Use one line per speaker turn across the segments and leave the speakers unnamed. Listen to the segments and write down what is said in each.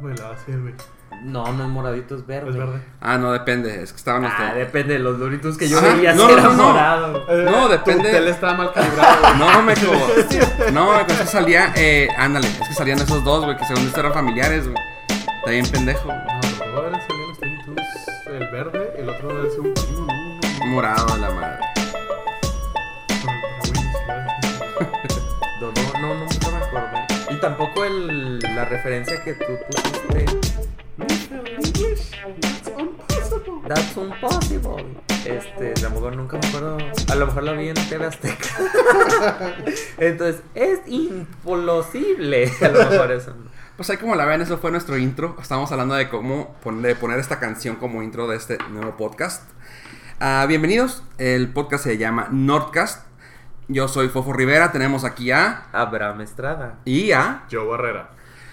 Me la hace, güey.
No, no es moradito, es verde.
Es verde.
Ah, no, depende. Es que estaban
Ah,
hasta.
depende de los doritos que yo
Ah,
veía
no,
si
no,
era
no.
morado.
Eh,
No, depende.
Tu tele estaba mal calibrado, güey.
No, me equivoco. No, es que salía. Eh, ándale, es que salían esos dos, güey, que según esto eran familiares, güey. Está bien pendejo. güey.
No, ahora salían los Tiny Toons, el verde, el otro es un primo, ¿no?
Morado de la madre.
No, no, no, no, nunca me acordé. Y tampoco el, la referencia que tú pusiste. That's impossible. Este, a lo mejor nunca me acuerdo. A lo mejor la vi en TV Azteca. Entonces, es imposible. A lo mejor eso.
Pues ahí como la vean, eso fue nuestro intro. Estamos hablando de cómo poner, poner esta canción como intro de este nuevo podcast. Ah, bienvenidos, el podcast se llama Nordcast. Yo soy Fofo Rivera, tenemos aquí a...
Abraham Estrada.
Y a...
Yo Barrera.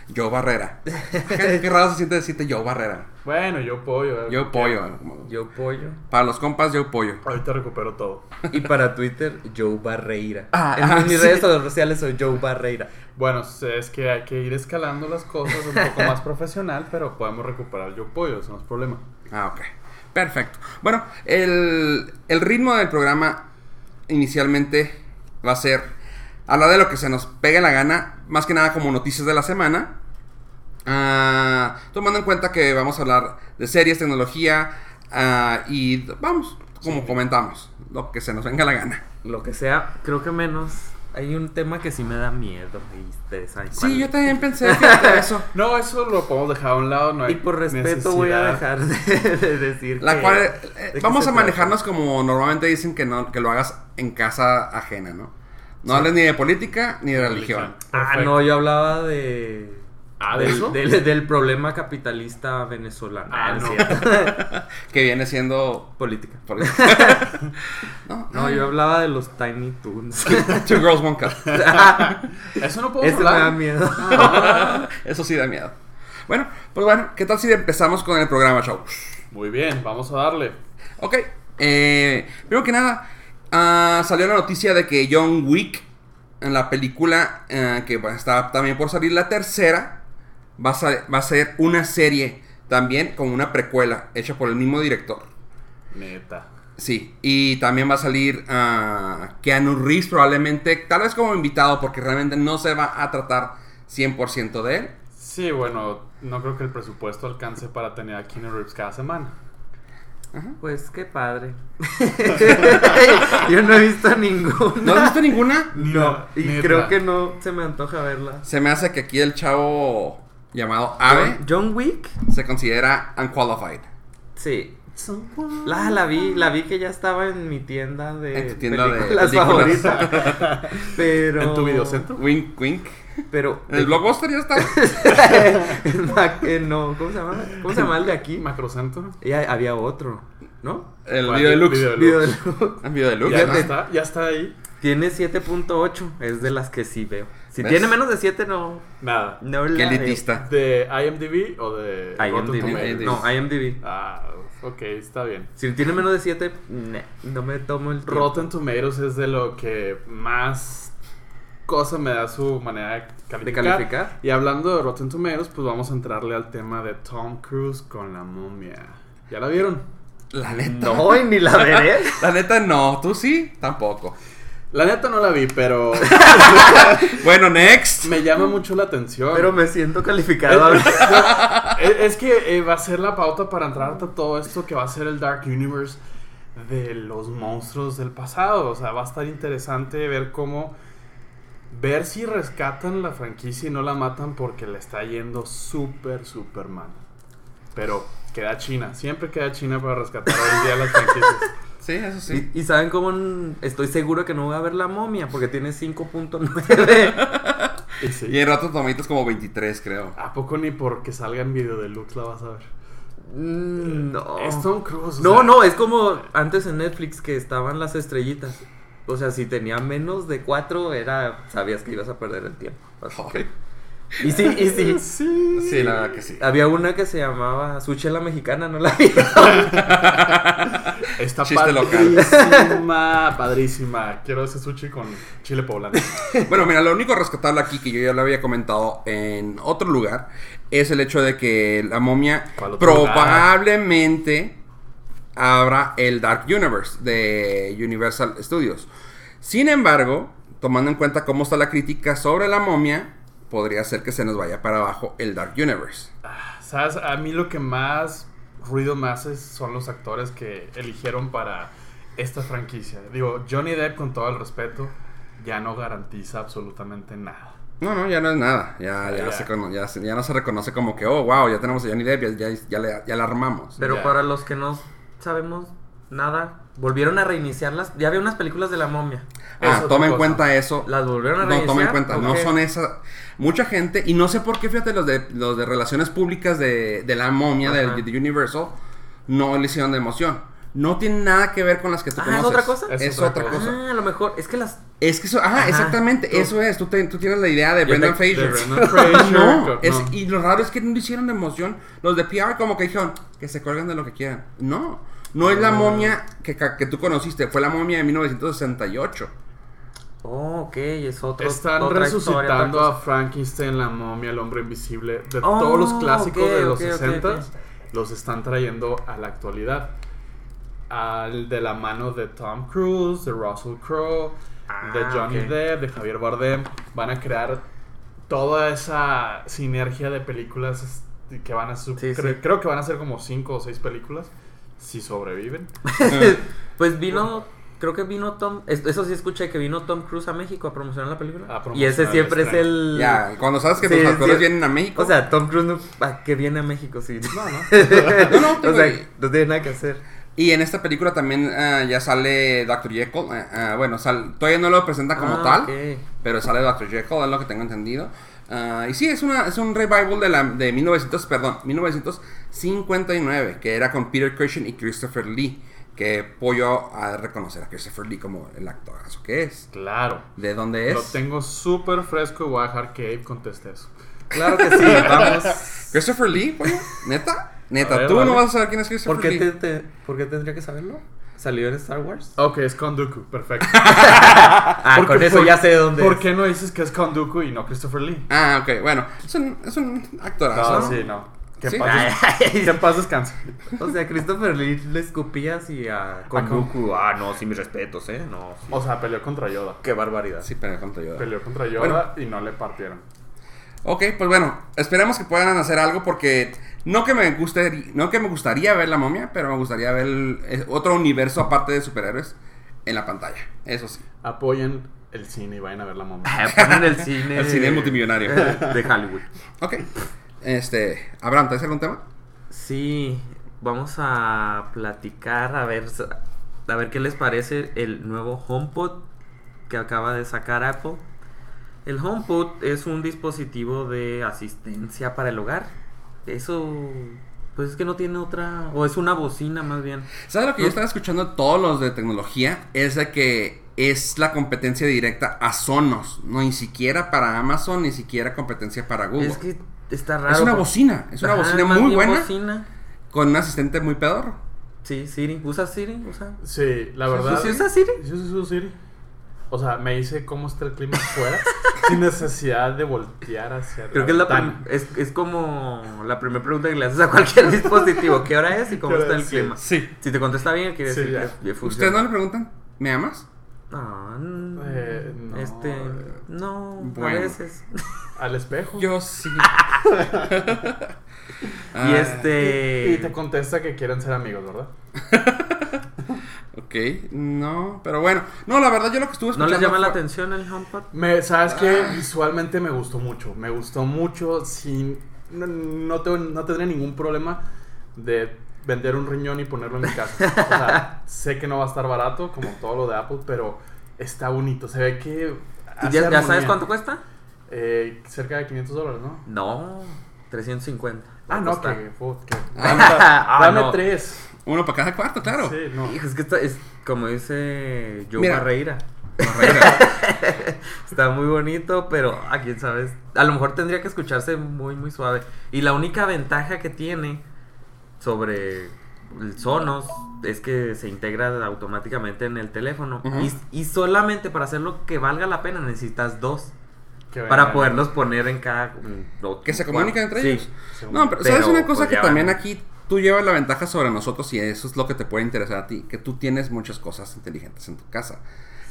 Yo Barrera. Qué, qué raro se siente decirte Yo Barrera.
Bueno, yo pollo. eh.
Yo Pollo. eh, como-
Yo Pollo.
Para los compas, Yo Pollo.
Ahorita recupero todo.
Y para Twitter, Joe Barreira.
Ah,
en
ah,
mis
sí.
redes sociales soy Joe Barreira.
Bueno, es que hay que ir escalando las cosas un poco más profesional, pero podemos recuperar yo pollo, eso no es problema.
Ah, ok. Perfecto. Bueno, el, el ritmo del programa inicialmente va a ser hablar de lo que se nos pegue la gana, más que nada como noticias de la semana. Ah, tomando en cuenta que vamos a hablar de series, tecnología ah, y vamos, como comentamos, lo que se nos venga la gana.
Lo que sea, creo que menos. Hay un tema que sí me da miedo. Y ustedes saben cuál
Sí, yo
es.
también pensé que eso.
No, eso lo podemos dejar a un lado, no hay
Y por respeto voy a
necesidad.
dejar de, de decir
La
que-
cual, eh,
¿de qué
vamos
se
a
trata?
manejarnos como normalmente dicen que no, que lo hagas en casa ajena, ¿no? No hables ni de política ni de religión.
Ah,
Perfecto.
no, yo hablaba de...
Ah, ¿de
del,
eso?
del- del problema capitalista venezolano.
Ah,
es
no.
cierto.
Que viene siendo.
Política.
no,
No, yo hablaba de los Tiny Toons.
Two Girls One Cup.
Eso no podemos
Ese me da
hablar.
miedo.
Eso sí da miedo. Bueno, pues bueno, ¿qué tal si empezamos con el programa, show?
Muy bien, vamos a darle.
Ok, eh, primero que nada, ah, salió la noticia de que John Wick, en la película eh, que va- está también por salir la tercera, va a, sa- va a ser una serie también como una precuela hecha por el mismo director.
Neta.
Sí, y también va a salir ah, Keanu Reeves probablemente, tal vez como invitado, porque realmente no se va a tratar 100% de él.
Sí, bueno, no creo que el presupuesto alcance para tener a Keanu Reeves cada semana.
Pues qué padre. yo no he visto ninguna.
¿No has visto ninguna?
No, y
Neta.
creo que no se me antoja verla.
Se me hace que aquí el chavo llamado Ave
John Wick.
se considera unqualified.
Sí. La, la vi, la vi que ya estaba en mi tienda de
En tu tienda de
películas
películas.
favoritas. Pero
¿En tu videocentro?
Wink, wink.
Pero
En el blockbuster ya está.
en la que no, ¿cómo se llama? ¿Cómo se llama el de aquí?
Macrocentro.
Y hay- había otro, ¿no?
El
¿Cuál?
video
Video
deluxe.
Video
deluxe.
de-
El video deluxe.
Ya,
¿no?
ya está, ya está ahí.
Tiene 7.8, es de las que sí veo. Si
¿Ves?
tiene menos de 7 no
Nada.
no
Qué
la veo.
elitista.
¿De IMDb o de Rotten
IMDb.
Tomatoes?
No, IMDb.
Ah, ok, está bien.
Si tiene menos de 7, nah, no me tomo el tiempo.
Rotten Tomatoes es de lo que más cosa me da su manera de calificar.
de calificar.
Y hablando de Rotten Tomatoes, pues vamos a entrarle al tema de Tom Cruise con la momia. ¿Ya la vieron?
La neta.
No, y ni la veré.
La neta no. Tú sí, tampoco.
La neta no la vi, pero
Bueno, next.
me llama mucho la atención.
Pero me siento calificado ahora.
es, Eh, es que eh, va a ser la pauta para entrar a todo esto que va a ser el Dark Universe de los monstruos del pasado. O sea, va a estar interesante ver cómo. Ver si rescatan la franquicia y no la matan porque le está yendo súper, súper mal. Pero queda China. Siempre queda China para rescatar hoy en día las franquicias.
Sí, eso sí.
Y, y saben cómo n- estoy seguro que no voy a ver la momia porque tiene 5.9.
Y sí.
Y en rato tomitos como 23, creo.
¿A poco ni porque salga en video deluxe la vas a ver?
Mm, no.
Es Tom Cruise. o
No,
sea,
no, es como antes en Netflix que estaban las estrellitas. O sea, si tenía menos de 4 era sabías que ibas a perder el tiempo. Así que-
Ay,
Y sí, y sí.
Sí.
Sí, la verdad que sí.
Había una que se llamaba Suche la Mexicana, no la vieron.
Está
Chiste local.
padrísima, padrísima. Quiero ese sushi con chile poblano.
Bueno, mira, lo único rescatable aquí que yo ya lo había comentado en otro lugar es el hecho de que la momia
¿Cuál otro lugar?
probablemente abra el Dark Universe de Universal Studios. Sin embargo, tomando en cuenta cómo está la crítica sobre la momia, podría ser que se nos vaya para abajo el Dark Universe.
¿Sabes? A mí lo que más ruido me hace son los actores que eligieron para esta franquicia. Digo, Johnny Depp, con todo el respeto, ya no garantiza absolutamente nada.
No, no, ya no es nada. Ya, ya
Ah, Ya.
se cono- ya se- ya no se reconoce como que, oh, wow, ya tenemos a Johnny Depp, ya, ya, ya le- ya la armamos.
Pero
Ya.
para los que no sabemos nada, volvieron a reiniciarlas. Ya había unas películas de la momia.
Es
Ah,
otra
toma en
cosa.
cuenta eso.
Las volvieron a
No,
reiniciar.
toma en cuenta, no
Ok.
son esas. Mucha gente, y no sé por qué, fíjate, los de, los de relaciones públicas de, de la momia
Ajá.
del de Universal no le hicieron de emoción. No tiene nada que ver con las que tú
Ah, ¿es
conoces.
otra cosa?
Es, otra cosa.
Ah, a lo mejor. Es que las.
Es que eso, ajá,
Ajá,
exactamente,
tú-
eso es. Tú, te- tú tienes la idea de
Yo
Brendan
te- de
Fraser.
Brendan Fraser,
no,
co-
es-
no.
y lo raro es que no le hicieron de emoción. Los de PR como que dijeron que se cuelgan de lo que quieran. No, no es la
Ah.
momia que, ca- que tú conociste, fue la momia de 1968.
Oh, ok, es otro.
Están
otra historia, otra
resucitando
cosa.
a Frankenstein, la momia, el hombre invisible, de
Oh,
todos los clásicos
ok,
de los
ok, ok,
60 los están trayendo a la actualidad. Al de la mano de Tom Cruise, de Russell Crowe,
Ah,
de Johnny
ok.
Depp, de Javier Bardem. Van a crear toda esa sinergia de películas este, que van a su-
Sí,
cre-
sí.
creo que van a ser como 5 o 6 películas si sobreviven.
pues vino. Creo que vino Tom. es- Eso sí escuché que vino Tom Cruise a México a promocionar la película.
A promocionar
y ese
el
siempre es
estreno.
el.
Ya, cuando sabes que
Sí,
tus
sí.
actores vienen a México.
O sea, Tom Cruise no, ¿a qué viene a México? Sí.
No, no.
No, no,
o
tengo-
sea, no tiene nada que hacer.
Y en esta película también ah, ya sale Dr. Jekyll. ah, ah, bueno, sal- todavía no lo presenta como
Ah,
tal,
ok.
pero sale Dr. Jekyll, es lo que tengo entendido. Ah, y sí, es, una, es un revival de, la, de 1900, perdón, 1959, que era con Peter Cushing y Christopher Lee, que pollo a reconocer a Christopher Lee como el actorazo que es.
Claro.
¿De dónde es?
Lo tengo súper fresco y voy a dejar que Abe conteste eso.
Claro que sí, vamos.
¿Christopher Lee, pollo? ¿Neta? ¿Neta?
A ver,
¿Tú no
dale.
vas a saber quién es Christopher
¿Por qué,
Lee?
te- te- por qué tendría que saberlo? ¿Salió en Star Wars?
Ok, es Konduku, perfecto.
Ah,
Porque-
con eso
por-
ya sé de dónde
¿Por
es.
qué no dices que es Konduku y no Christopher Lee?
Ah, ok, bueno. Es un, es un actorazo.
No, sí, no. Que
Sí.
en paz, des- que en paz descanse.
O sea, Christopher Lee le escupías y a
con-
Goku. Ah, no, sí, mis respetos, ¿eh? No. sí.
O sea, peleó contra Yoda.
Qué barbaridad.
Sí, pero con tu ayuda.
Peleó contra Yoda y no le partieron.
Ok, pues bueno, esperemos que puedan hacer algo porque no que me guste, no que me gustaría ver la momia, pero me gustaría ver el- eh, otro universo aparte de superhéroes en la pantalla. Eso sí.
Apoyen el cine y vayan a ver la mamá.
Ah, Ponen el cine.
El cine multimillonario.
De Hollywood.
Ok. Este, Abraham, ¿traes algún tema?
Sí, vamos a platicar a ver, a ver qué les parece el nuevo HomePod que acaba de sacar Apple. El HomePod es un dispositivo de asistencia para el hogar. Eso, pues es que no tiene otra, o es una bocina más bien.
¿Sabes lo que yo estaba escuchando de todos los de tecnología? Es de que es la competencia directa a Sonos, no ni siquiera para Amazon, ni siquiera competencia para Google.
Es que está raro.
Uh. Es una
porque-
bocina, es una
Ajá,
bocina
más
muy
bien
buena
bocina.
con un asistente muy pedorro.
Sí, Siri. ¿Usa Siri? ¿Usa?
Sí, la verdad.
¿Sí usa Siri?
Sí, sí, usa Siri. O sea, me dice cómo está el clima afuera sin necesidad de voltear hacia
Creo que es, la
ventana.
prim- es, es como la primera pregunta que le haces a cualquier dispositivo. ¿Qué hora es y cómo
¿Qué hora
está el
es? Sí.
clima?
Sí.
Si te contesta bien, quiere
Sí,
decir
ya.
que- que
¿Ustedes no
funciona.
le preguntan, ¿me amas?
No, no,
Eh, no.
Este, no,
Bueno.
a veces.
Al espejo.
Yo sí.
y
Ah,
este...
Y te contesta que quieren ser amigos, ¿verdad?
Ok, no, pero bueno. No, la verdad, yo lo que estuve
¿No
escuchando.
les llama la
fue-
atención el HomePod?
Me, ¿Sabes qué?
Ah.
Visualmente me gustó mucho. Me gustó mucho. Sin, no, no, tengo- no tendré ningún problema de vender un riñón y ponerlo en mi casa. O sea, sé que no va a estar barato, como todo lo de Apple, pero está bonito. Se ve que.
¿Y
hace
ya, ya sabes
armonía.
cuánto cuesta?
Eh, cerca de 500 dólares, ¿no?
No, 350.
Ah, no,
Cuesta.
que. fut- que-
Ah,
Dame
no.
tres.
Uno para cada cuarto, claro.
Sí, no.
Hijo, es que esto es como dice Joe
Mira.
Barreira.
nos regresa.
Está muy bonito, pero a quién sabes. A lo mejor tendría que escucharse muy, muy suave. Y la única ventaja que tiene sobre el Sonos es que se integra automáticamente en el teléfono.
Ujú.
y, y solamente para hacerlo que valga la pena necesitas dos.
Que
Para
venga-
poderlos poner en cada. mm, o-
que se comunican
bueno,
entre
sí.
ellos.
según-
No, pero, ¿sabes
Pero,
una cosa
pues,
que
ya
también
van.
aquí tú llevas la ventaja sobre nosotros y eso es lo que te puede interesar a ti? Que tú tienes muchas cosas inteligentes en tu casa.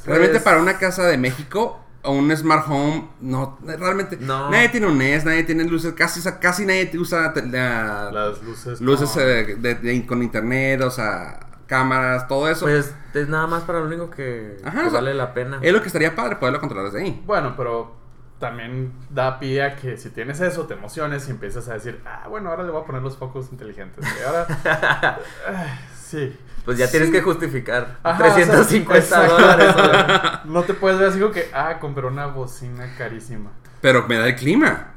Realmente
Pues-
para una casa de México o un smart home, no, realmente
No.
nadie tiene un NES, nadie tiene luces, casi, casi nadie te usa te- la-
Las luces.
luces
no.
eh, de- de- con internet, o sea, cámaras, todo eso.
Pues es nada más para lo único que,
Ajá,
que
o sea,
vale la pena.
es lo que estaría padre poderlo controlar desde ahí.
Bueno, pero también da pie a que si tienes eso, te emociones y empiezas a decir, ah, bueno, ahora le voy a poner los focos inteligentes. Y ahora. Ah, sí.
Pues ya tienes
Sí.
que justificar
Ajá,
350
exacto.
dólares. o-
No te puedes ver así como que, ah, compré una bocina carísima.
Pero me da el clima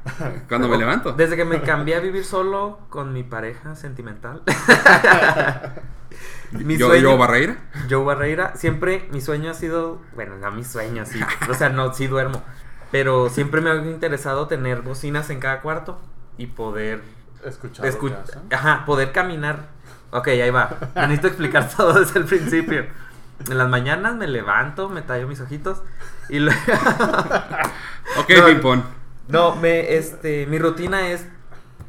cuando me levanto.
Desde que me cambié a vivir solo con mi pareja sentimental. mi
yo,
sueño-
yo Barreira.
Joe Barreira. Siempre mi sueño ha sido. Bueno, no mi sueño, sí. O sea, no, sí duermo. Pero siempre me ha interesado tener bocinas en cada cuarto y poder
Escuchar.
Escu-
lo que hacen.
Ajá, poder caminar. Ok, ahí va. Necesito explicar todo desde el principio. En las mañanas me levanto, me tallo mis ojitos y luego...
Ok,
No.
ping pong.
No, me, este, mi rutina es,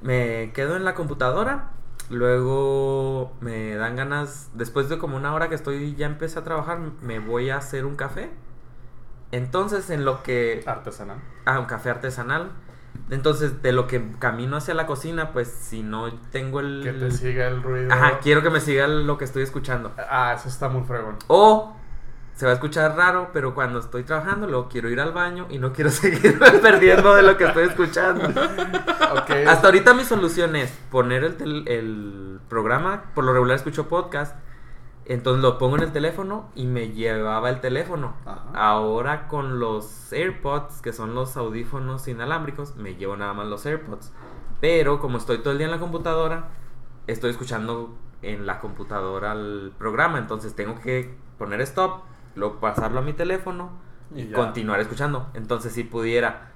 me quedo en la computadora, luego me dan ganas, después de como una hora que estoy, ya empecé a trabajar, me voy a hacer un café. Entonces, en lo que...
Artesanal.
Ah, un café artesanal. Entonces, de lo que camino hacia la cocina, pues si no tengo el...
Que te siga el ruido.
Ajá, quiero que me siga lo que estoy escuchando.
Ah, eso está muy fregón.
O se va a escuchar raro, pero cuando estoy trabajando, luego quiero ir al baño y no quiero seguirme perdiendo de lo que estoy escuchando.
Ok.
Hasta ahorita mi solución es poner el, tel- el programa, por lo regular escucho podcast, entonces lo pongo en el teléfono y me llevaba el teléfono.
Ajá.
Ahora con los AirPods, que son los audífonos inalámbricos, me llevo nada más los AirPods. Pero como estoy todo el día en la computadora, estoy escuchando en la computadora el programa, entonces tengo que poner stop, luego pasarlo a mi teléfono y,
Y ya.
continuar escuchando. Entonces si pudiera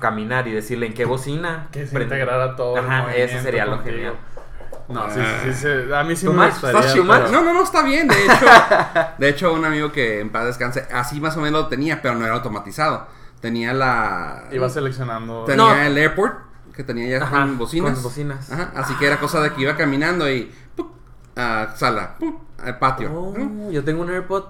caminar y decirle en qué bocina
Que se
prende-
integrara todo. el
Ajá, eso
movimiento
sería lo
contigo.
genial. Ah.
No, sí, sí, sí, sí, A mí sí
¿Tú
me
más?
gustaría.
¿Estás chumar?
pero-
No, no, no, está bien. De hecho, de hecho, un amigo que en paz descanse, así más o menos lo tenía, pero no era automatizado. Tenía la.
Iba seleccionando.
No.
Tenía el airport, que tenía ya
Ajá,
con bocinas.
con bocinas.
Ajá, así que era cosa de que iba caminando y. ¡pup! a sala, ¡pup! al patio. Mm. ¿no?
Oh, yo tengo un AirPod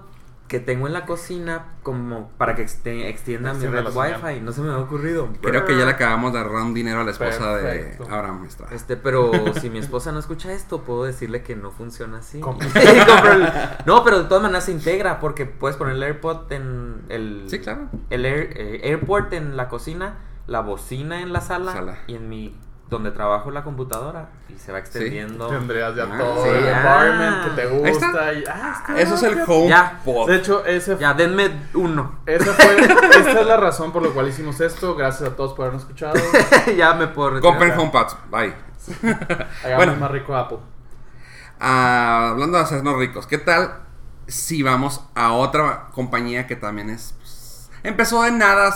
que tengo en la cocina como para que exte- extienda mi
Extienda
red
la señal.
Wi-Fi. No se me ha ocurrido.
Creo que ya le acabamos de agarrar un dinero a la esposa
Perfecto.
de Abraham Estrada.
Este, pero si mi esposa no escucha esto, puedo decirle que no funciona así.
Compra.
Y compro el- no, pero de todas maneras se integra porque puedes poner el AirPod en el,
Sí, claro.
el Air- eh, AirPort en la cocina, la bocina en la sala,
Sala.
y en mi donde trabajo la computadora y se va extendiendo.
Tendrías ya
Ah,
todo
sí.
el
Ah.
environment que te gusta.
Ahí está.
Y, ah, está
Eso es el
rápido.
home
Ya.
pod.
De hecho, ese
Ya, denme uno.
Esa fue, esta es la razón por la cual hicimos esto. Gracias a todos por habernos escuchado.
ya me puedo retirar.
Compren homepads. Bye.
Hagamos
Bueno.
más rico Apple.
Ah, hablando de hacernos ricos, ¿qué tal si vamos a otra compañía que también es. pues, empezó de nada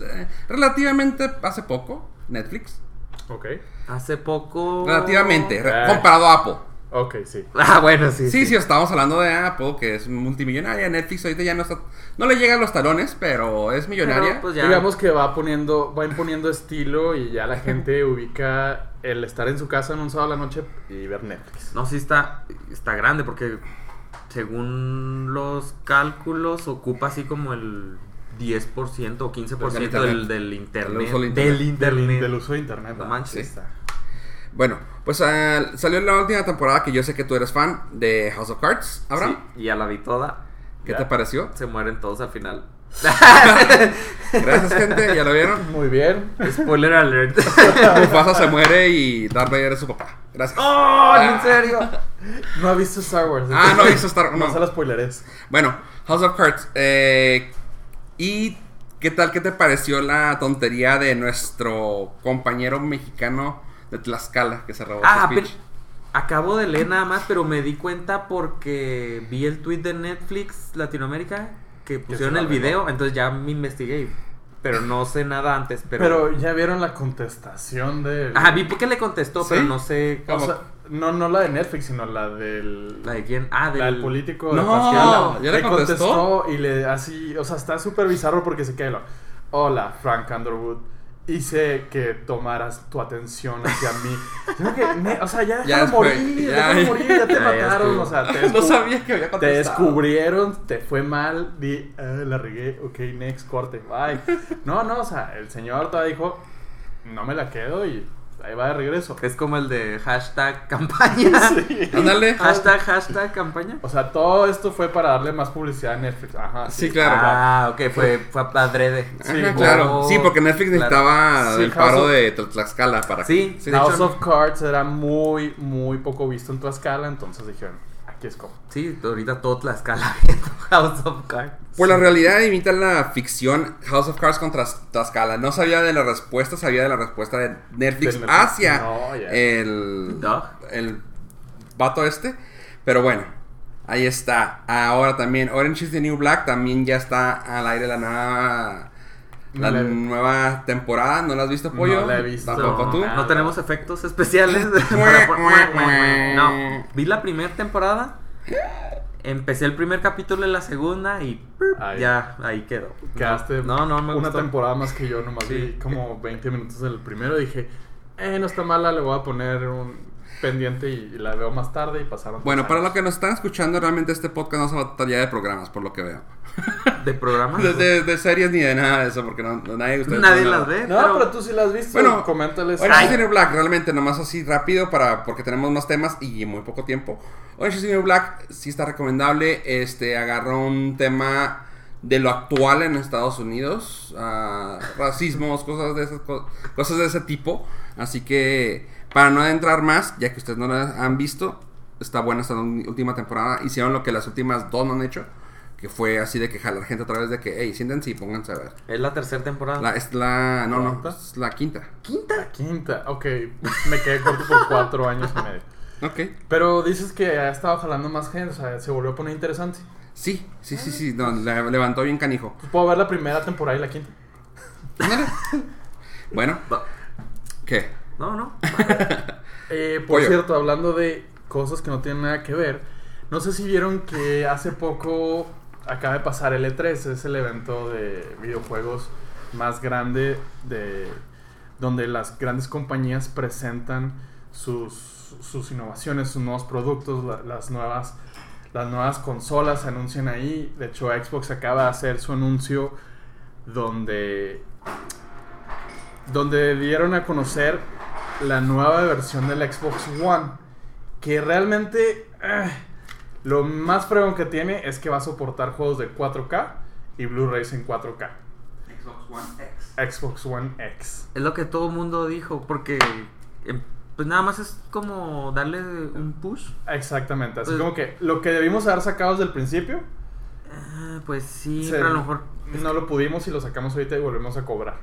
eh, relativamente hace poco, Netflix.
Ok.
Hace poco.
Relativamente, re-
Ah.
comparado a Apple.
Ok, sí.
Ah, bueno, sí.
Sí, sí, estamos hablando de Apple, que es multimillonaria. Netflix ahorita ya no está. No le llegan los talones, pero es millonaria.
Pero, pues, ya.
Digamos que va poniendo, va imponiendo estilo y ya la gente ubica el estar en su casa en un sábado a la noche y ver Netflix.
No, sí está, está grande porque según los cálculos ocupa así como el 10% o 15%
Del
del, del
internet.
internet.
Del uso del
Del internet.
Del uso de internet.
No
¿verdad?
manches.
Sí, está.
Bueno, pues ah, salió la última temporada que yo sé que tú eres fan de House of Cards, Abraham.
Sí, y a la vi toda.
¿Qué
Ya.
te pareció?
Se mueren todos al final.
Gracias, gente. Ya lo vieron.
Muy bien.
Spoiler alert.
Mufasa se muere y Darth Vader es su papá. Gracias.
Ah,
¡Oh! ¿En serio?
No ha visto Star Wars.
Ah,
entonces
no hizo Star
No
no.
se las spoilerés.
Bueno, House of Cards. eh, ¿Y qué tal? ¿Qué te pareció la tontería de nuestro compañero mexicano de Tlaxcala que se robó
Ah,
su
pero-
speech?
acabo de leer nada más, pero me di cuenta porque vi el tweet de Netflix Latinoamérica que pusieron
se
el
la peló.
video, entonces ya me investigué. Pero no sé nada antes, pero...
Pero ya vieron la contestación de.
Ajá, vi que le contestó, pero
¿Sí?
no sé...
O sea, no, no la de Netflix, sino la del.
¿La de quién? Ah, del...
La del político.
No,
de Pascal.
¿ya le contestó?
y le así, o sea, está súper bizarro porque se queda. Hola, Frank Underwood. Hice que tomaras tu atención hacia mí. Yo que, ne- o sea, ya
Ya
déjalo
después,
morir,
ya.
déjalo morir, ya te
Ya, ya
mataron,
estuvo.
o sea, te,
No
descu-
sabía que había
te
contestado.
descubrieron, te fue mal, di, "Ah, la regué, ok, next, corte, bye. No, no, o sea, el señor todavía dijo, no me la quedo y ahí va de regreso.
Es como el de hashtag campaña.
Sí.
Ándale.
Hashtag, hashtag campaña.
O sea, todo esto fue para darle más publicidad a Netflix. Ajá.
Sí, claro.
Ah, ok, fue, fue adrede.
Ajá,
Sí,
claro.
wow.
Sí, porque Netflix
Claro.
necesitaba
Sí,
el paro
House of- ah,
de Tlaxcala para.
Sí,
de
House
hecho,
of Cards era muy, muy poco visto en Tlaxcala, entonces dijeron, aquí es como.
Sí, ahorita todo Tlaxcala viendo House of Cards.
Pues la realidad imita la ficción House of Cards contra Tlaxcala. No sabía de la respuesta, sabía de la respuesta de Netflix
De Netflix.
hacia
No, ya.
el,
Duh.
el vato este. Pero bueno, ahí está. Ahora también Orange is the New Black también ya está al aire la nueva, la
No la-
nueva temporada. ¿No la has visto, Pollo?
No la he visto.
Tampoco tú.
No tenemos efectos especiales. no, vi la primera temporada. Empecé el primer capítulo de la segunda y ¡prup!
Ahí.
ya ahí quedó.
Quedaste
no, no, me
una
gustó.
temporada más que yo, nomás
Sí.
vi como 20 minutos del primero. Dije, eh, no está mala, le voy a poner un pendiente y, y la veo más tarde y pasaron. tres
Bueno, para
años.
lo que nos están escuchando, realmente este podcast no se va a tratar ya de programas, por lo que veo.
De programa.
De, de- de series ni de nada de eso, porque no, no- nadie de ustedes
Ah. Nadie
no-
las ve.
No, pero, tú sí la has visto.
Bueno,
Bueno, coméntales.
Orange is
Ay.
the New Black, realmente nomás así rápido para porque tenemos más temas y muy poco tiempo. Orange is the New Black sí está recomendable, este agarró un tema de lo actual en Estados Unidos, ah, racismos, cosas de esas co- cosas de ese tipo, así que para no adentrar más, ya que ustedes no la han visto, está buena esta un- última temporada, hicieron lo que las últimas dos no han hecho, que fue así de que jalar gente a través de que, hey, siéntense y pónganse a ver.
Es la tercera temporada.
La, es la, no, no,
¿Cuánta?
es la quinta.
La quinta. Ok, me quedé corto por cuatro años y medio.
Ok.
Pero dices que ha estado jalando más gente, o sea, se volvió a poner interesante.
Sí, sí, sí, sí, no, le- levantó bien canijo.
Pues puedo ver la primera temporada y la quinta.
Bueno, ¿qué?
No, no.
Eh, por
Pollo.
cierto, hablando de cosas que no tienen nada que ver, no sé si vieron que hace poco acaba de pasar el E3, es el evento de videojuegos más grande de donde las grandes compañías presentan sus, sus innovaciones, sus nuevos productos, la- las nuevas las nuevas consolas se anuncian ahí. De hecho, Xbox acaba de hacer su anuncio donde donde dieron a conocer la nueva versión del Xbox One, que realmente eh, lo más fregón que tiene es que va a soportar juegos de 4K y Blu-rays en 4K.
Xbox One X.
Xbox One X.
Es lo que todo el mundo dijo, porque eh, pues nada más es como darle un push.
Exactamente, así
Pues-
como que lo que debimos haber sacado desde el principio,
Ah, pues sí,
se-
pero a lo mejor.
no lo pudimos y lo sacamos ahorita y volvemos a cobrar.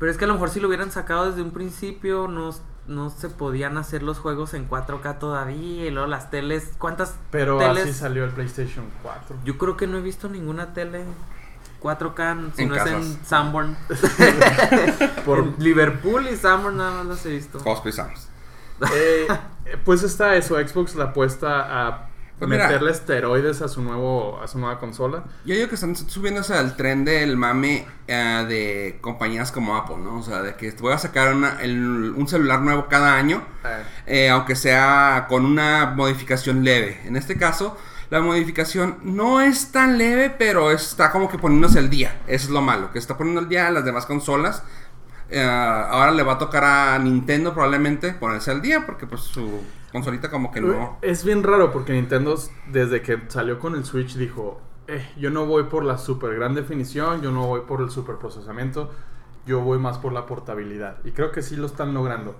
Pero es que a lo mejor si lo hubieran sacado desde un principio, no, no se podían hacer los juegos en 4K todavía. Y luego las teles. ¿Cuántas
Pero
teles?
así salió el PlayStation 4.
Yo creo que no he visto ninguna tele 4K, si
En
no es en
casas.
Sanborn. En Liverpool y Sanborn nada más las he visto.
Cosplay Sounds.
Eh, eh, pues está eso, Xbox la apuesta a
Pues mira.
meterle esteroides a su nuevo a su nueva consola.
Yo digo que están subiéndose al tren del mame eh, de compañías como Apple, ¿no? O sea, de que voy a sacar una- el- un celular nuevo cada año, eh, aunque sea con una modificación leve. En este caso, la modificación no es tan leve, pero está como que poniéndose al día. Eso es lo malo, que está poniendo al día a las demás consolas. Eh, ahora le va a tocar a Nintendo probablemente ponerse al día, porque pues su consolita como que no.
Eh, Es bien raro porque Nintendo desde que salió con el Switch dijo, "Eh, yo no voy por la super gran definición, yo no voy por el super procesamiento, yo voy más por la portabilidad. Y creo que sí lo están logrando.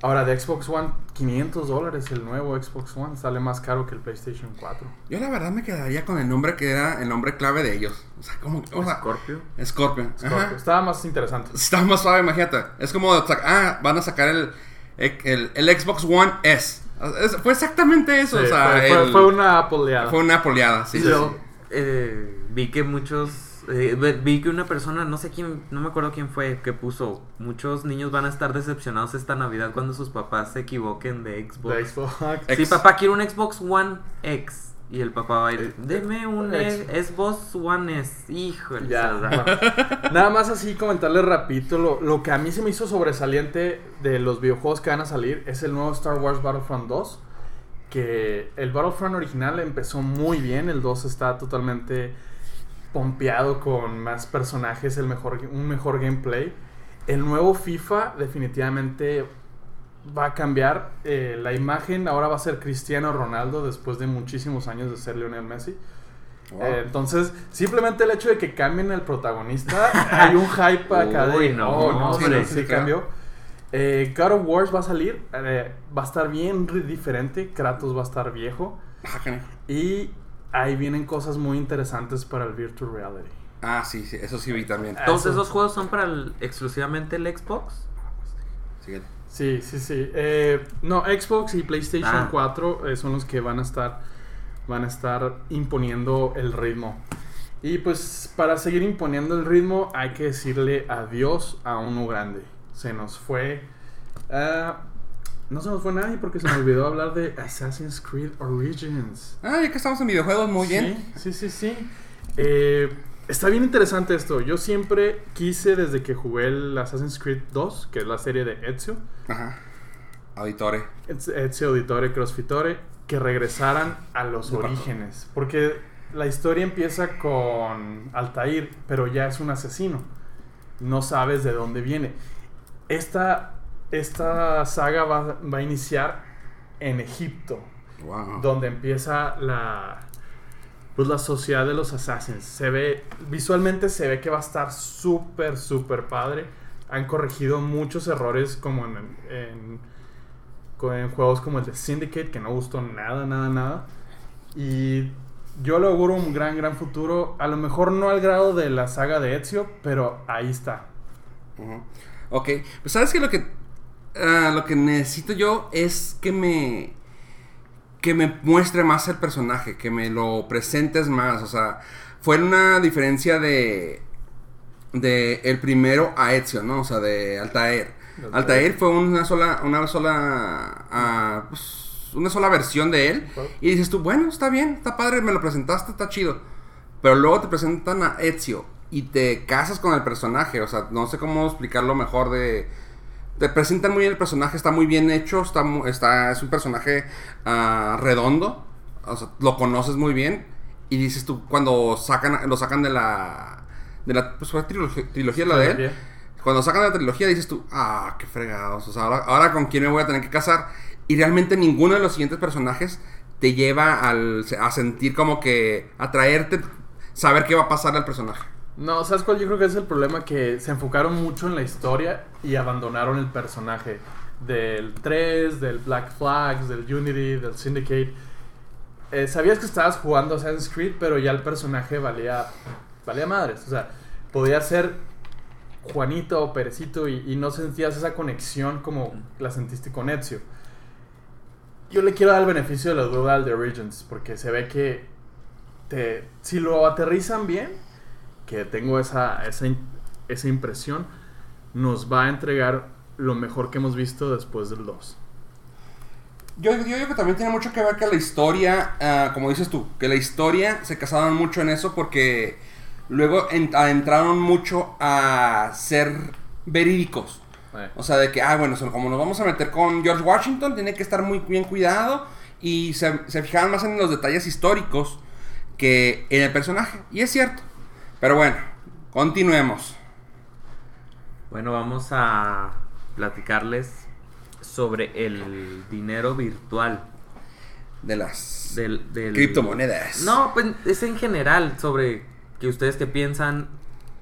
Ahora de Xbox One, 500 dólares el nuevo Xbox One, sale más caro que el PlayStation 4.
Yo la verdad me quedaría con el nombre que era el nombre clave de ellos. O sea, como... O sea,
Scorpio.
Scorpion. ajá.
Scorpio. Estaba más interesante.
Está más suave, imagínate. Es como, sac- ah, van a sacar el, el, el Xbox One S. Es- fue exactamente eso.
Sí,
o sea,
fue, fue-
el-
fue una apoleada.
fue una poleada. Sí,
Y
sí,
luego,
sí.
eh, vi que muchos, eh, ve- vi que una persona, no sé quién, no me acuerdo quién fue, que puso, muchos niños van a estar decepcionados esta Navidad cuando sus papás se equivoquen de Xbox.
De Xbox.
Sí,
Ex.
papá quiere un Xbox One X. Y el papá va a
Eh,
ir, deme un
Ex.
e- Xbox One S. Híjole.
Ya,
o sea,
bueno. Nada más así comentarles rapidito lo, lo que a mí se me hizo sobresaliente de los videojuegos que van a salir es el nuevo Star Wars Battlefront 2. Que el Battlefront original empezó muy bien, el 2 está totalmente pompeado con más personajes, el mejor, un mejor gameplay. El nuevo FIFA definitivamente va a cambiar eh, la imagen, ahora va a ser Cristiano Ronaldo después de muchísimos años de ser Lionel Messi.
Wow.
Ah.
Eh, entonces, simplemente el hecho de que cambien el protagonista, hay un hype acá de.
Uy, no,
"Oh,
hombre".
sí, sí
Sí, claro.
cambió. Eh, God of Wars va a salir, eh, va a estar bien ri- diferente. Kratos va a estar viejo.
Ah, canijo.
Y ahí vienen cosas muy interesantes para el Virtual Reality.
Ah, sí, sí, eso sí vi también.
Todos
Eso.
esos juegos son para el- exclusivamente el Xbox.
Síguele.
Sí, sí, sí. Eh, no, Xbox y PlayStation
Ah.
4 eh, son los que van a estar van a estar imponiendo el ritmo. Y pues para seguir imponiendo el ritmo hay que decirle adiós a uno grande. Se nos fue ah, no se nos fue nadie porque se me olvidó hablar de Assassin's Creed Origins.
Ah, ya que estamos en videojuegos, muy
Sí,
bien.
Sí, sí, sí. Eh, está bien interesante esto. Yo siempre quise desde que jugué el Assassin's Creed 2, que es la serie de Ezio,
Ajá. Auditore.
Ets- Ezio Auditore Crossfitore, que regresaran a los orígenes. Porque la historia empieza con Altair, pero ya es un asesino. No sabes de dónde viene. Esta, esta saga va, va a iniciar en Egipto,
Wow.
donde empieza la pues la sociedad de los assassins se ve visualmente se ve que va a estar súper súper padre han corregido muchos errores como en, en- co- en juegos como el de Syndicate que no gustó nada nada nada y yo le auguro un gran gran futuro a lo mejor no al grado de la saga de Ezio pero ahí está
Ujú. Ok, pues sabes que lo que ah, lo que necesito yo es que me que me muestre más el personaje, que me lo presentes más, o sea, fue una diferencia de de el primero a Ezio, ¿no? O sea, de Altair.
Altair.
Altair fue una sola una sola ah, pues, una sola versión de él
Claro.
y dices tú, bueno, está bien, está padre, me lo presentaste, está chido. Pero luego te presentan a Ezio y te casas con el personaje. O sea, no sé cómo explicarlo mejor de... Te presentan muy bien el personaje, está muy bien hecho, está, mu- está, es un personaje ah, redondo, o sea, lo conoces muy bien y dices tú, cuando sacan, lo sacan de la... De la pues, fue trilog- trilogía la de él. Cuando sacan la trilogía dices tú, ah, qué fregados, o sea, ahora, ahora con quién me voy a tener que casar. Y realmente ninguno de los siguientes personajes te lleva al, a sentir como que, a traerte, saber qué va a pasar al personaje.
No, ¿sabes cuál? Yo creo que es el problema que se enfocaron mucho en la historia y abandonaron el personaje del 3, del Black Flags, del Unity, del Syndicate. Eh, sabías que estabas jugando Assassin's Creed, pero ya el personaje valía valía madres, o sea, podía ser Juanito o Perecito y, y no sentías esa conexión como la sentiste con Ezio. Yo le quiero dar el beneficio de la duda al The Origins, porque se ve que te- si lo aterrizan bien, que tengo esa, esa, in- esa impresión, nos va a entregar lo mejor que hemos visto después del 2.
Yo, yo digo que también tiene mucho que ver que la historia, ah, como dices tú, que la historia se casaron mucho en eso porque luego en- adentraron mucho a ser verídicos. O sea, de que, ah, bueno, so- como nos vamos a meter con George Washington, tiene que estar muy bien cuidado y se, se fijaban más en los detalles históricos que en el personaje. Y es cierto. Pero bueno, continuemos.
Bueno, vamos a platicarles sobre el dinero virtual
De las
del, del-
criptomonedas.
No, pues es en general sobre que ustedes qué piensan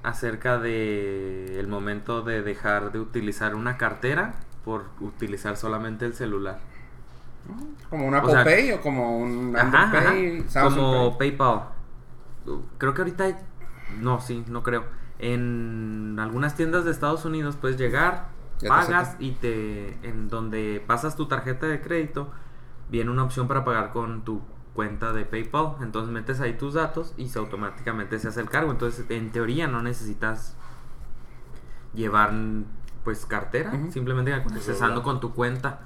acerca de el momento de dejar de utilizar una cartera por utilizar solamente el celular.
Como
o
una Apple
sea-
Pay o como un Android
Ajá, ajá.
Pay, Samsung
Como
Pay.
PayPal. Creo que ahorita. hay- No, sí, no creo. En algunas tiendas de Estados Unidos puedes llegar,
Ya te
pagas
saca.
y te. En donde pasas tu tarjeta de crédito, viene una opción para pagar con tu cuenta de PayPal. Entonces metes ahí tus datos y se automáticamente se hace el cargo. Entonces, en teoría, no necesitas llevar pues cartera,
Ujú.
simplemente accesando Pues con tu cuenta.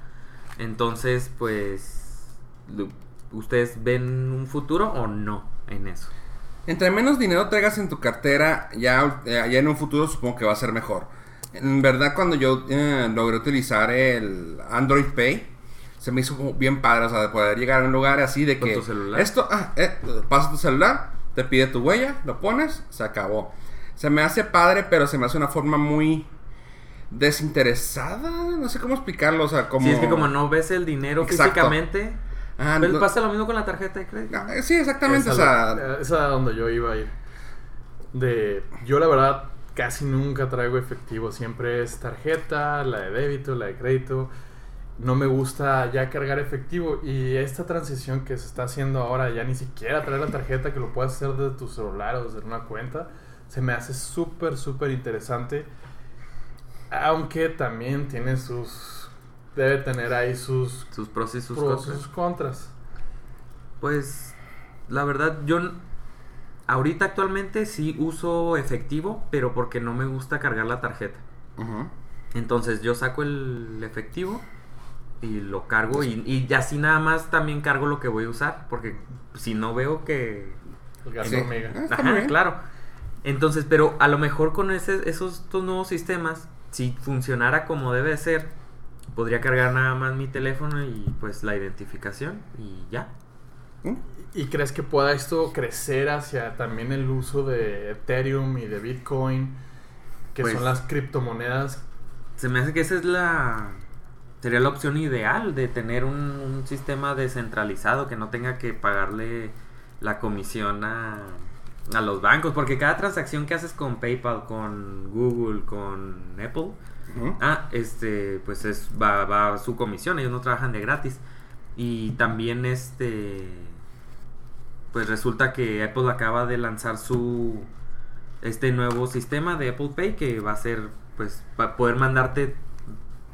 Entonces, pues lo- ustedes ven un futuro o no en eso.
Entre menos dinero traigas en tu cartera, ya, eh, ya en un futuro supongo que va a ser mejor. En verdad, cuando yo eh, logré utilizar el Android Pay, se me hizo como bien padre, o sea, de poder llegar a un lugar así de
Con
que...
tu celular.
Esto, ah, eh, pasa tu celular, te pide tu huella, lo pones, se acabó. Se me hace padre, pero se me hace una forma muy desinteresada, no sé cómo explicarlo, o sea, como...
Si es que como no ves el dinero
Exacto.
físicamente,
Ah,
pero
no-
pasa lo mismo con la tarjeta de crédito.
Ah, Sí, exactamente, o sea...
Esa es a donde yo iba a ir. De, yo la verdad casi nunca traigo efectivo, siempre es tarjeta, la de débito, la de crédito. No me gusta ya cargar efectivo y esta transición que se está haciendo ahora, ya ni siquiera traer la tarjeta que lo puedes hacer desde tu celular o desde una cuenta, se me hace súper, súper interesante. Aunque también tiene sus... Debe tener ahí sus
Sus pros y sus
pros,
contras.
sus contras.
Pues la verdad yo n- ahorita actualmente sí uso efectivo, pero porque no me gusta cargar la tarjeta.
ujú.
Entonces yo saco el efectivo y lo cargo y, y así nada más también cargo lo que voy a usar, porque si no veo que...
El gasto
Sí.
hormiga.
Ah, está muy
Ajá,
bien.
claro. Entonces, pero a lo mejor con ese, esos estos nuevos sistemas, si funcionara como debe de ser, podría cargar nada más mi teléfono y pues la identificación y ya.
¿Mm?
¿Y crees que pueda esto crecer hacia también el uso de Ethereum y de Bitcoin, que
Pues-
son las criptomonedas?
Se me hace que esa es la. Sería la opción ideal de tener un, un sistema descentralizado que no tenga que pagarle la comisión a, a los bancos. Porque cada transacción que haces con PayPal, con Google, con Apple,
Ujú.
ah, este, pues es, va, va su comisión, ellos no trabajan de gratis. Y también este. Pues resulta que Apple acaba de lanzar su este nuevo sistema de Apple Pay que va a ser pues para poder mandarte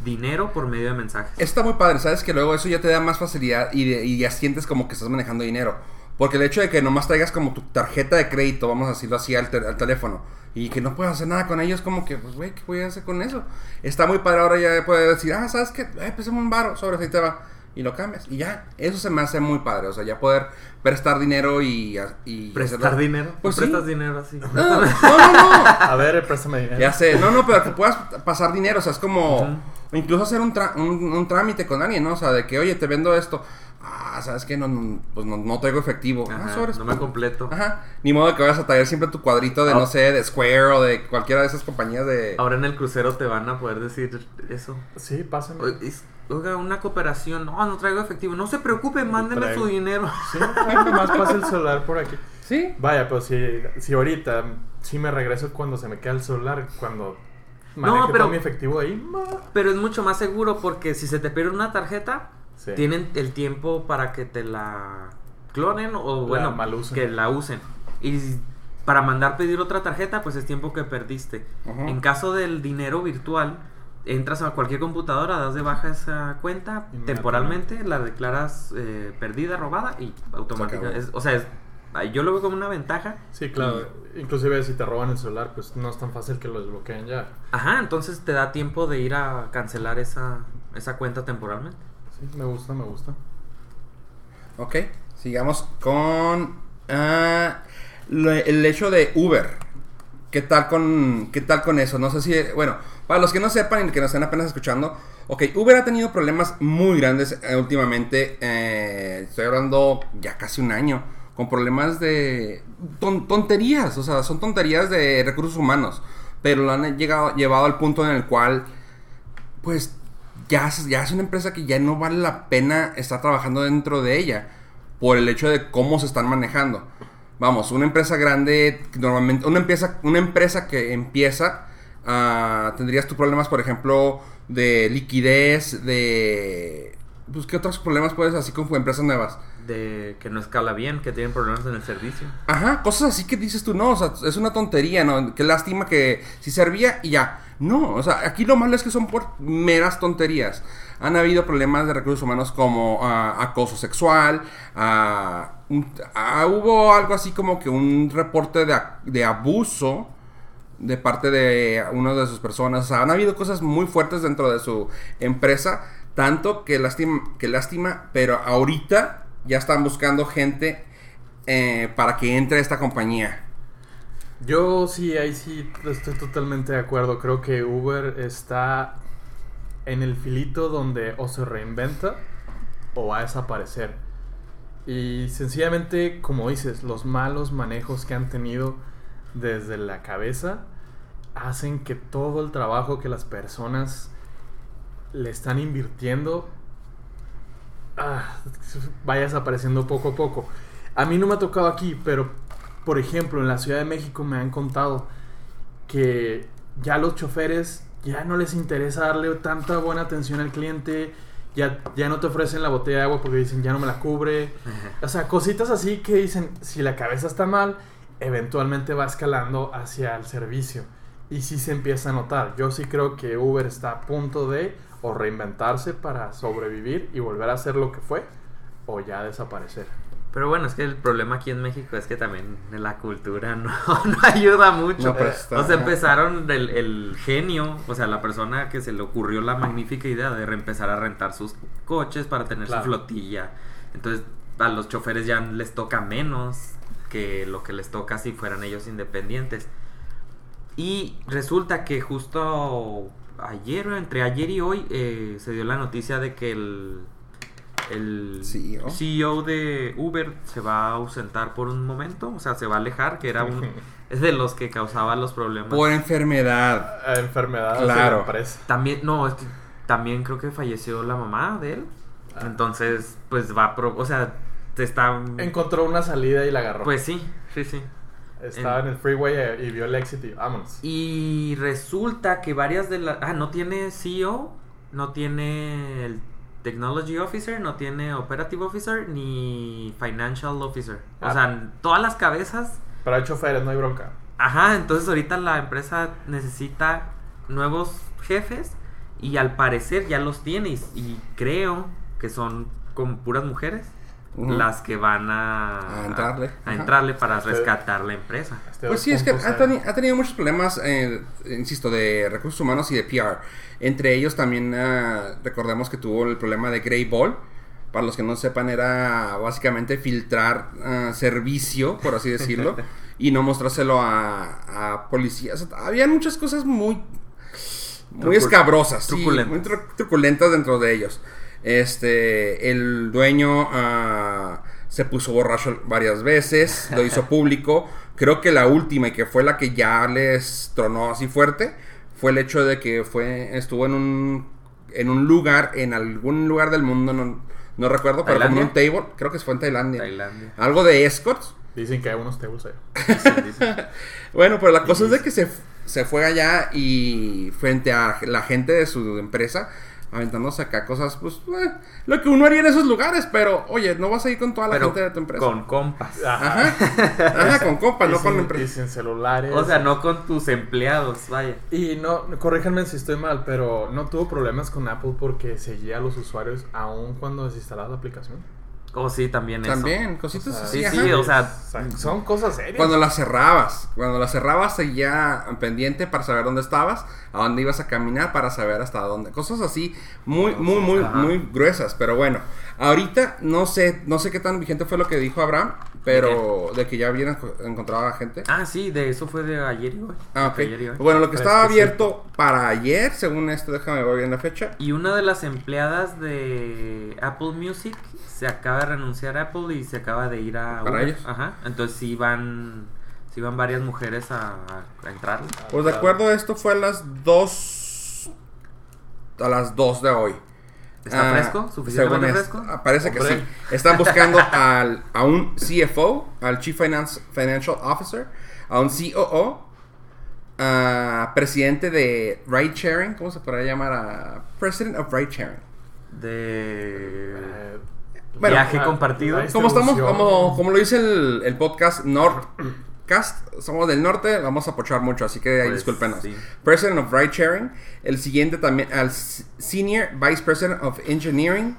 dinero por medio de mensajes.
Está muy padre, sabes que luego eso ya te da más facilidad y, de- y ya sientes como que estás manejando dinero. Porque el hecho de que nomás traigas como tu tarjeta de crédito, vamos a decirlo así, al, te- al teléfono, y que no puedas hacer nada con ellos, como que, pues, güey, ¿qué voy a hacer con eso? Está muy padre ahora ya poder decir, ah, ¿sabes qué? Eh, pues un varo, sobre ahí te va. Y lo cambias. Y ya, eso se me hace muy padre. O sea, ya poder prestar dinero y... a- y
¿Prestar
hacerlo-
dinero?
Pues sí.
¿Prestas dinero así?
No, no, no, no.
A ver, préstame dinero.
Ya sé, no, no, pero que puedas pasar dinero, o sea, es como
Ujú.
incluso hacer un, tra- un, un trámite con alguien, ¿no? O sea, de que, oye, te vendo esto. Ah, sabes que no, no, pues no, no traigo efectivo. Ah,
Ajá,
sobres.
no me completo.
Ajá. Ni modo que vayas a traer siempre tu cuadrito de,
Ah.
no sé, de Square o de cualquiera de esas compañías de.
Ahora en el crucero te van a poder decir eso.
Sí, pásame.
O- es- Oiga, una cooperación. No, no traigo efectivo. No se preocupe, mándeme
traigo.
su dinero.
Sí, más pasa el celular por aquí.
Sí.
Vaya, pero si, si ahorita sí me regreso cuando se me queda el celular, cuando maneje
pero-
todo mi efectivo ahí. ma-
Pero es mucho más seguro porque si se te pierde una tarjeta,
Sí.
tienen el tiempo para que te la clonen o bueno,
mal usen.
que la usen. Y para mandar pedir otra tarjeta, pues es tiempo que perdiste.
Ujú.
En caso del dinero virtual, entras a cualquier computadora, das de baja esa cuenta
Inmediatamente.
temporalmente, la declaras eh, perdida, robada y automáticamente.
acabó.
es- o sea, es- ay, yo lo veo como una ventaja.
Sí, claro.
Mm.
Inclusive si te roban el celular, pues no es tan fácil que lo desbloqueen ya.
Ajá, entonces te da tiempo de ir a cancelar esa, esa cuenta temporalmente.
Sí, me gusta, me gusta.
Ok, sigamos con ah, lo- el hecho de Uber. ¿Qué tal con qué tal con eso? No sé si bueno, para los que no sepan y que nos están apenas escuchando, ok, Uber ha tenido problemas muy grandes eh, últimamente. eh, estoy hablando ya casi un año con problemas de ton- tonterías, o sea, son tonterías de recursos humanos, pero lo han llegado llevado al punto en el cual pues ya, es- ya es una empresa que ya no vale la pena estar trabajando dentro de ella por el hecho de cómo se están manejando. Vamos, una empresa grande, normalmente, una empresa, una empresa que empieza, ah, tendrías tus problemas, por ejemplo, de liquidez, de... Pues, ¿qué otros problemas puedes así con empresas nuevas?
de que no escala bien, que tienen problemas en el servicio.
Ajá, cosas así que dices tú, no, o sea, es una tontería, ¿no? Qué lástima que si servía y ya. No, o sea, aquí lo malo es que son por meras tonterías. Han habido problemas de recursos humanos como ah, acoso sexual, ah, un- ah, hubo algo así como que un reporte de, a- de abuso de parte de una de sus personas. O sea, han habido cosas muy fuertes dentro de su empresa, tanto que lástima, que lástima pero ahorita ya están buscando gente eh, para que entre a esta compañía.
Yo sí, ahí sí estoy totalmente de acuerdo. Creo que Uber está en el filito donde o se reinventa o va a desaparecer. Y sencillamente, como dices, los malos manejos que han tenido desde la cabeza hacen que todo el trabajo que las personas le están invirtiendo ah, vaya desapareciendo poco a poco. A mí no me ha tocado aquí, pero por ejemplo, en la Ciudad de México me han contado que ya los choferes ya no les interesa darle tanta buena atención al cliente, ya, ya no te ofrecen la botella de agua porque dicen ya no me la cubre. O sea, cositas así que dicen, si la cabeza está mal, eventualmente va escalando hacia el servicio. Y sí se empieza a notar. Yo sí creo que Uber está a punto de o reinventarse para sobrevivir y volver a ser lo que fue o ya desaparecer.
Pero bueno, es que el problema aquí en México es que también la cultura no, no ayuda mucho.
No, pues, está-
o sea, empezaron el, el genio, o sea, la persona que se le ocurrió la magnífica idea de empezar a rentar sus coches para tener
Claro.
su flotilla. Entonces, a los choferes ya les toca menos que lo que les toca si fueran ellos independientes. Y resulta que justo ayer, o entre ayer y hoy, eh, se dio la noticia de que el, el E
CEO.
CEO de Uber se va a ausentar por un momento, o sea, se va a alejar, que era un, es de los que causaba los problemas.
Por enfermedad.
A enfermedades de
Claro.
la empresa.
También, no, es que también creo que falleció la mamá de él.
Ah.
Entonces, pues va, a pro- o sea, te está...
Encontró una salida y la agarró.
Pues sí, sí, sí.
Estaba en, el freeway eh, y vio el éxito y vámonos.
Y resulta que varias de las... Ah, no tiene CEO, no tiene el Technology Officer, no tiene Operative Officer, ni Financial Officer.
Ah.
O sea, todas las cabezas...
Pero hay choferes, no hay bronca.
Ajá, entonces ahorita la empresa necesita nuevos jefes y al parecer ya los tiene y, y creo que son como puras mujeres
Ujú.
las que van a...
A entrarle.
a
Ajá.
entrarle para
Este-
rescatar la empresa.
Este
Pues sí, es que
2.0.
ha, teni- ha tenido muchos problemas, eh, insisto, de recursos humanos y de PR. Entre ellos también ah, recordemos que tuvo el problema de Grey Ball. Para los que no sepan, era básicamente filtrar ah, servicio, por así decirlo, y no mostrárselo a, a policías. Había muchas cosas muy, muy
Trucul-
escabrosas, sí,
truculentas.
muy tru- truculentas dentro de ellos. Este, el dueño ah, se puso borracho varias veces, lo hizo público. Creo que la última y que fue la que ya les tronó así fuerte fue el hecho de que fue estuvo en un en un lugar en algún lugar del mundo no, no recuerdo, pero como en un table, creo que fue en Tailandia.
Tailandia.
Algo de escorts.
Dicen que hay unos tables ahí.
Dicen, dicen.
Bueno, pero la cosa es de que se, se fue allá y frente a la gente de su empresa, aventándose acá cosas, pues, eh, lo que uno haría en esos lugares, pero oye, no vas a ir con toda la
Pero
gente de tu empresa.
con compas.
Ah,
Ajá, ajá, con compa,
Y
no
sin-
con la
Y
empresa.
sin celulares.
O sea, no con tus empleados, vaya.
Y no, corríjanme si estoy mal, pero no tuvo problemas con Apple porque seguía a los usuarios aún cuando desinstalaba la aplicación.
O Oh, sí, también eso.
También, cositas
O sea,
así,
sí,
ajá.
sí, o sea,
son cosas serias.
Cuando la cerrabas, cuando la cerrabas seguía pendiente para saber dónde estabas, a dónde ibas a caminar para saber hasta dónde. Cosas así muy, muy, muy,
Ah, Ajá.
muy gruesas. Pero bueno, ahorita no sé, no sé qué tan vigente fue lo que dijo Abraham, pero de que ya habían enco- encontrado a gente.
Ah, sí, de eso fue de ayer y hoy.
Ah,
De ayer Pues y hoy.
ok. Bueno, lo que estaba
Fresquecito.
abierto para ayer, según esto, déjame ver bien la fecha.
Y una de las empleadas de Apple Music se acaba de renunciar a Apple y se acaba de ir a
Para
Uber.
ellos.
Ajá. Entonces sí van, sí van varias mujeres a, a entrar.
Pues de acuerdo, esto fue a las 2. A las 2 de hoy.
¿Está
Ah,
fresco? ¿Suficientemente
según es-
fresco?
ah, parece que
Hombre.
sí. Están buscando al, a un CFO, al Chief Finance- Financial Officer, a un COO, a ah, presidente de Ride Sharing, ¿cómo se podría llamar? A President of Ride Sharing.
De...
Eh,
Bueno,
Viaje compartido.
ahí está.
Como estamos,
Distribución.
como, como lo dice el, el podcast, North Cast, somos del norte, vamos a pochar mucho, así que ahí
Pues,
discúlpenos.
sí.
President of Ride Sharing. El siguiente también al s- Senior Vice President of Engineering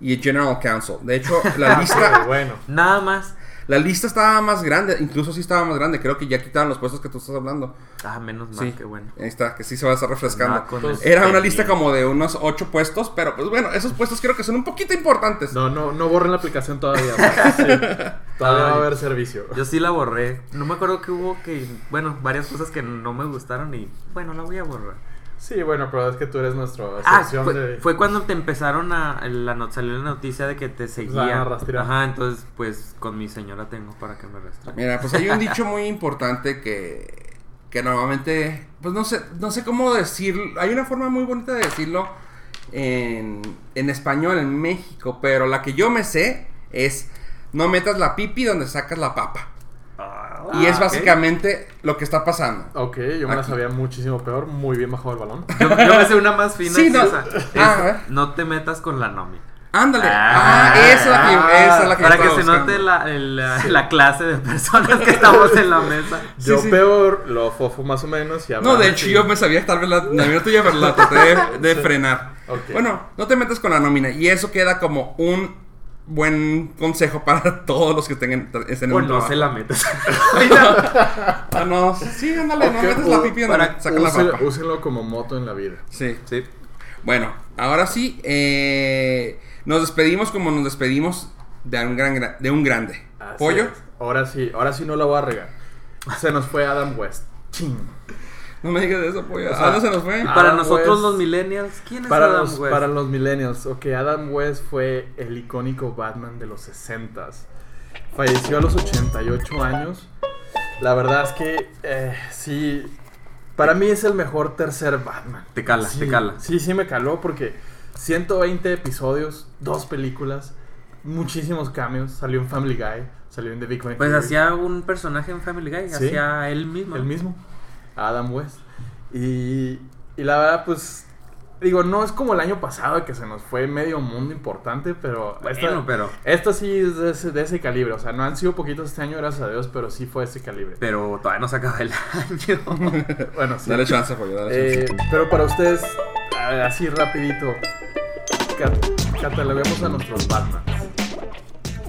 y General Counsel. De hecho, la
Pero
lista,
bueno.
Nada más.
la lista estaba más grande, incluso sí estaba más grande. Creo que ya quitaron los puestos que tú estás hablando.
Ah, menos mal,
Sí.
qué bueno.
Ahí está, que sí se va a estar refrescando.
Andaba con este
Entonces,
el
Era una
pendiente.
lista como de unos ocho puestos, pero pues bueno, esos puestos creo que son un poquito importantes.
No, no, no borren la aplicación todavía. porque sí, todavía va a haber servicio.
Yo sí la borré. No me acuerdo que hubo que. Bueno, varias cosas que no me gustaron y. Bueno, la voy a borrar.
Sí, bueno, pero es que tú eres nuestro
Ah,
sección
fue,
de.
fue cuando te empezaron a. La not- salió la noticia de que te seguía.
Pues a rastrear.
Ajá, entonces, pues con mi señora tengo para que me rastree.
Mira, pues hay un dicho muy importante que, que normalmente, pues no sé, no sé cómo decirlo. Hay una forma muy bonita de decirlo en, en español, en México, pero la que yo me sé es no metas la pipi donde sacas la papa. y
Ah,
es
ok.
básicamente lo que está pasando.
Ok, yo me la
Aquí.
sabía muchísimo peor, muy bien bajo el balón.
Yo, yo me sé una más fina.
Sí, no.
o sea,
Ah, a
es,
ver.
no te metas con la nómina.
Ándale. Ah, esa es la que,
ah,
esa es la que yo
Para que
estaba
se
buscando.
note la, el- la- la clase de personas que estamos en la mesa.
Yo
sí.
peor, lo fofo más o menos. Y
No,
Abraham
de hecho
sí.
yo me sabía tal vez la nómina tuya, pero la traté de, de frenar.
Ok.
Bueno, no te metas con la nómina y eso queda como un buen consejo para todos los que tengan estén en
O
un
no
trabajo.
se la metas.
Ah, no, sí, ándale,
Ok,
no metas la
u-
pipi donde
para-
saca la
úselo-
papa.
Úsenlo como moto en la vida.
Sí.
Sí.
Bueno, ahora sí eh, nos despedimos como nos despedimos de un gran gra- de un grande.
Así
Pollo,
es. Ahora sí, ahora sí no la voy a regar. Se nos fue Adam West. Ching.
no me digas eso, pollo.
O sea,
¿A dónde se nos fue?
ah,
Para
Adam
pues.
nosotros
West.
los millennials, ¿quién es
Para
Adam
los,
West?
para los millennials, ok, Adam West fue el icónico Batman de los 60s. Falleció a los 88 años. La verdad es que eh, sí, para mí es el mejor tercer Batman.
Te cala,
Sí,
te cala.
Sí, sí me caló porque 120 episodios, dos películas, muchísimos cambios. Salió en Family Guy, salió en The Big Bang
Pues
Theory.
hacía un personaje en Family Guy,
Sí.
hacía él mismo.
El mismo, Adam West. Y, y la verdad, pues, digo, no es como el año pasado que se nos fue medio mundo importante, pero
Bueno,
esta,
pero,
esta sí es de ese, de ese calibre. O sea, no han sido poquitos este año, gracias a Dios, pero sí fue ese calibre.
pero todavía no se acaba el año.
Bueno, sí.
Dale chance, pollo, dale chance.
Eh, pero para ustedes, a ver, así rapidito, cat- cataloguemos a nuestros Batman.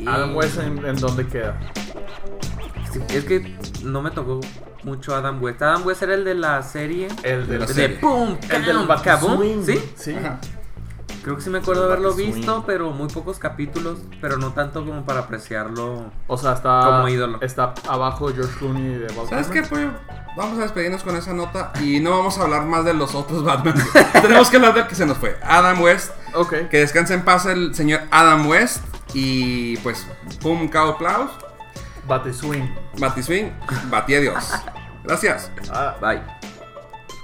Adam West, ¿en, en dónde queda?
Sí, Es que no me tocó mucho Adam West. Adam West era el de la serie.
El
De
del...
la
De
serie.
pum,
El del
Pum,
Batswing.
Kaboom, ¿sí?
Sí.
Ajá.
Creo que sí me acuerdo haberlo
Batswing.
visto, pero muy pocos capítulos, pero no tanto como para apreciarlo.
O sea, está...
Como ídolo.
Está abajo de George Clooney y de Val
¿Sabes
Kilmer.
qué, pollo? Vamos a despedirnos con esa nota y no vamos a hablar más de los otros Batman. Tenemos que hablar del que se nos fue, Adam West.
Ok.
Que descanse en paz el señor Adam West y pues, pum, cao plaus,
Bate swing.
batiswing, batí adiós. Gracias.
Uh,
Ah,
Bye.